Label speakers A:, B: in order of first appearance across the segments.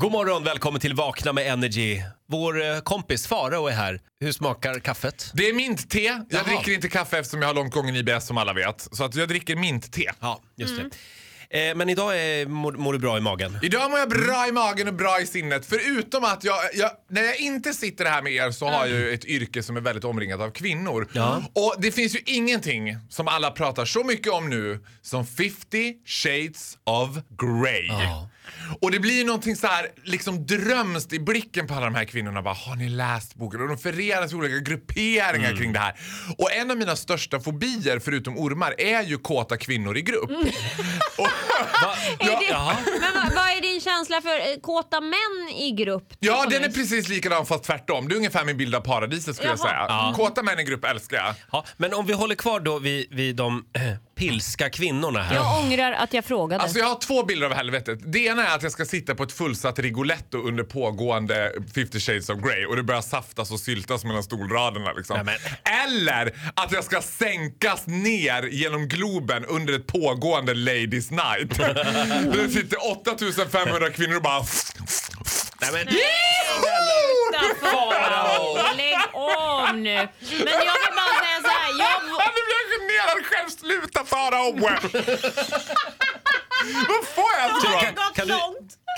A: God morgon, välkommen till Vakna med Energy. Vår eh, kompis Farao är här. Hur smakar kaffet?
B: Det är mintte. Jag
A: Jaha.
B: dricker inte kaffe eftersom jag har långt gången IBS som alla vet. Så att jag dricker mintte.
A: Ja, just
B: Mm.
A: det. Eh, men idag är, mår, mår du bra i magen?
B: Idag mår jag bra i magen och bra i sinnet. Förutom att jag, jag när jag inte sitter här med er så har jag ju ett yrke som är väldigt omringat av kvinnor.
A: Ja.
B: Och det finns ju ingenting som alla pratar så mycket om nu som 50 shades of grey.
A: Ja.
B: Och det blir ju någonting så här liksom drömst i blicken på alla de här kvinnorna. Bara, har ni läst boken? Och de förenas i olika grupperingar
A: Mm.
B: kring det här. Och en av mina största fobier, förutom ormar, är ju kåta kvinnor i grupp. Och,
A: Va? Ja, jaha.
C: Men vad, vad är din känsla för eh, kåta män i grupp?
B: Ja, den är precis likadan fast tvärtom. Det är ungefär min bild av paradiset skulle jag
C: Jaha.
B: säga. Kåta män i grupp älskar jag.
A: Mm. Ja, men om vi håller kvar då vid, vid de eh, pilska kvinnorna här.
C: Jag ångrar att jag frågade.
B: Alltså jag har två bilder av helvetet. Det ena är att jag ska sitta på ett fullsatt Rigoletto under pågående 50 shades of Grey och det börjar saftas och syltas mellan stolraderna liksom.
A: Nej, men-
B: Eller att jag ska sänkas ner genom Globen under ett pågående Ladies Night. Där det sitter 8500 kvinnor och bara...
A: Nej, men,
C: Farao, lägg om nu. Men jag vill bara säga så här. Jag,
B: Nu blir jag generad själv! Sluta Farao! Vad får jag tro?
A: kan, kan, du,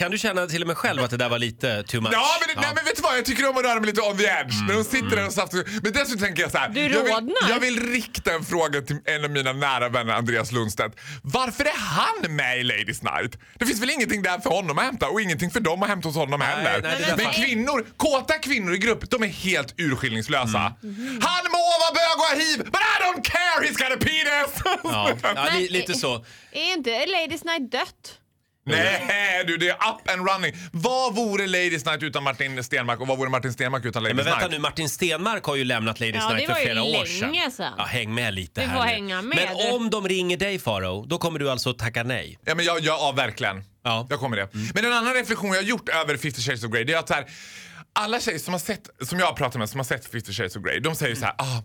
A: kan du känna till och med själv att det där var lite too much?
B: Ja, men, Nej, men vet du vad? Jag tycker om att röra mig lite on the edge.
A: Mm.
B: När de sitter där och saftar. Men dessutom tänker jag så här.
C: Du
B: jag, vill,
C: rodnar.
B: jag vill rikta en fråga till en av mina nära vänner, Andreas Lundstedt. Varför är han med i Ladies Night? Det finns väl ingenting där för honom att hämta och ingenting för dem att hämta hos honom heller.
A: nej, det där
B: men
A: fan-
B: kvinnor, kåta kvinnor i grupp, de är helt urskillningslösa.
A: Mm.
B: Han må vara bög och ha hiv, but I don't care! He's got a penis!
A: Ja, ja, li,
C: Men-
A: lite så.
C: är inte Ladies Night dött?
B: Nej du, det är up and running. Vad vore Ladies Night utan Martin Stenmark och vad vore Martin Stenmark utan Ladies
A: Men vänta
B: Night?
A: nu, Martin Stenmark har ju lämnat Ladies
C: Ja, det
A: Night
C: var
A: för
C: ju
A: flera år sedan.
C: länge sedan.
A: Ja, häng med lite
C: Du
A: här
C: får
A: nu.
C: hänga med,
A: Men
C: du.
A: om de ringer dig Farao, då kommer du alltså tacka nej?
B: Ja, men jag, jag, ja verkligen.
A: Ja.
B: Jag kommer det.
C: Mm.
B: Men en annan reflektion jag har gjort över 50 shades of Grey det är att så här, alla tjejer som, har sett, som jag har pratat med som har sett 50 shades of Grey de säger ju så här
C: Mm.
B: ah,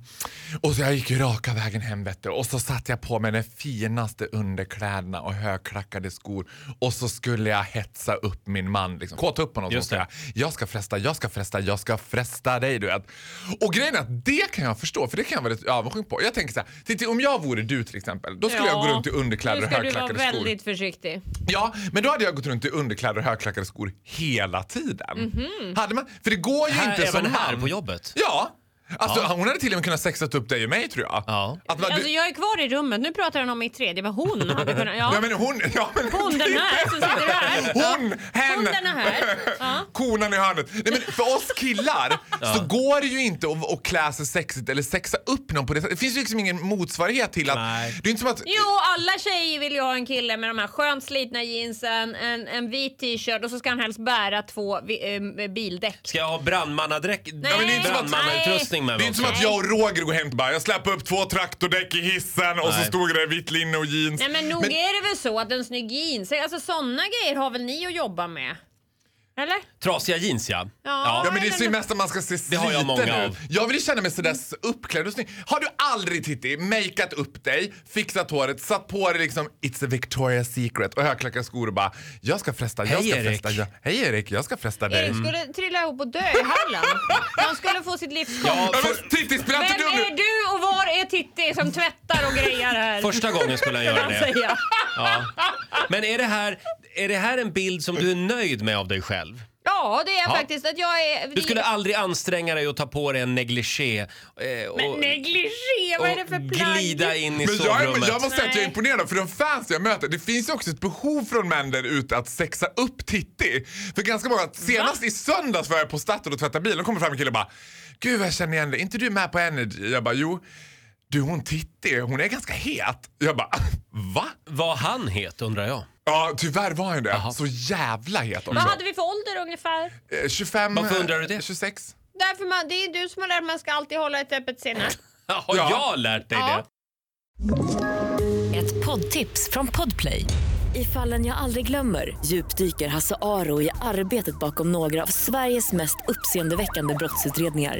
B: och så jag gick ju raka vägen hem vet du, och så satte jag på mig den finaste underkläderna och högklackade skor och så skulle jag hetsa upp min man. Liksom. Kåta upp honom.
A: Just
B: Just
A: det.
B: det. Jag ska fresta, jag ska fresta, jag ska fresta dig du vet. Och grejen är att det kan jag förstå för det kan jag vara lite avundsjuk på. Jag tänker så här, titta, om jag vore du till exempel då skulle jag gå runt i underkläder och
C: Nu ska du
B: högklackade
C: vara
B: skor.
C: väldigt försiktig.
B: Ja, men då hade jag gått runt i underkläder och högklackade skor hela tiden.
C: Mhm.
B: Hade man, för det går ju
A: Här,
B: inte som
A: även här
B: man.
A: på jobbet?
B: Ja. Alltså, Hon hade till och med kunnat sexat upp dig och mig tror jag.
A: Ja.
B: Att man,
C: Alltså
B: du,
C: jag är kvar i rummet. Nu pratar han om mitt tredje. Men hon hade kunnat...
B: ja,
C: Ja.
B: men hon, ja, men
C: Hon den här som sitter här.
B: Hon, hen,
C: Hon den här. Ja.
B: konan i hörnet. Nej, men för oss killar så går det ju inte att, att klä sig sexigt eller sexa upp någon på det sättet. Det finns ju liksom ingen motsvarighet till att...
A: Nej.
B: Det är inte som att...
C: Jo, alla tjejer vill ju ha en kille med de här skönt slitna jeansen, en, en vit t-shirt och så ska han helst bära två vi, eh, bildäck.
A: Ska jag ha brandmannadräkt?
C: men det är inte som att-
A: brandmannautrustning med
B: Det är
A: mig
B: inte
A: också?
B: som att jag och Roger går hem och bara jag släpper upp två traktordäck i hissen och så
A: Nej.
B: stod det där vitt linne och jeans.
C: Nej men nog är det väl så att en snygg jeans, alltså sådana grejer har väl ni att jobba med? Eller?
A: Trasiga jeans ja.
B: Ja men det är ju mest att man ska se sliten
A: har jag många
B: ut.
A: av.
B: Jag vill ju känna mig sådär s- uppklädd och snygg. Har du aldrig Titti makeat upp dig, fixat håret, satt på dig liksom It's a Victoria's Secret och högklackade skor och bara jag ska fresta, jag
A: Hej,
B: ska
A: Erik.
B: fresta, jag, hej Erik, jag ska fresta dig. Mm.
C: Erik skulle trilla ihop och dö i Halland. Han skulle få sitt livs
A: Mm. Ja,
B: Ja,
A: för,
B: men Titti spela inte
C: Vem
B: dum
C: är
B: nu!
C: du och var är Titti som tvättar och grejar här?
A: första gången skulle jag göra
C: Kan jag
A: det.
C: säga.
A: Ja. Men är det, här, är det här en bild som du är nöjd med av dig själv?
C: Ja det är jag
A: Ja.
C: faktiskt. Att jag är...
A: Du skulle aldrig anstränga dig att ta på dig en negligé eh, och,
C: Men negligé, vad är det för
A: och
C: plagg?
A: glida in i
B: Men jag, är-
A: sovrummet?
B: jag måste säga att jag är
C: Nej.
B: imponerad av- för de fans jag möter, det finns ju också ett behov från män där ute att sexa upp Titti. För ganska många, senast i söndags var jag på Statoil och tvättade bilen och kommer fram en kille och bara Gud vad jag känner igen dig, är inte du med på Energy? Jag bara jo. Du hon Titti, hon är ganska het. Jag bara va?
A: Vad han het undrar jag.
B: Ja tyvärr var hon det. Så jävla het
C: Vad
B: också.
C: hade vi för ålder ungefär?
B: Eh, 25,
A: Varför undrar du det?
B: 26.
C: Därför man, det är du som har lärt mig att man ska alltid hålla ett öppet sinne.
A: Har
B: Ja.
A: jag lärt dig
C: Ja.
A: det?
D: Ett Poddtips från Podplay. I fallen jag aldrig glömmer djupdyker Hasse Aro i arbetet bakom några av Sveriges mest uppseendeväckande brottsutredningar.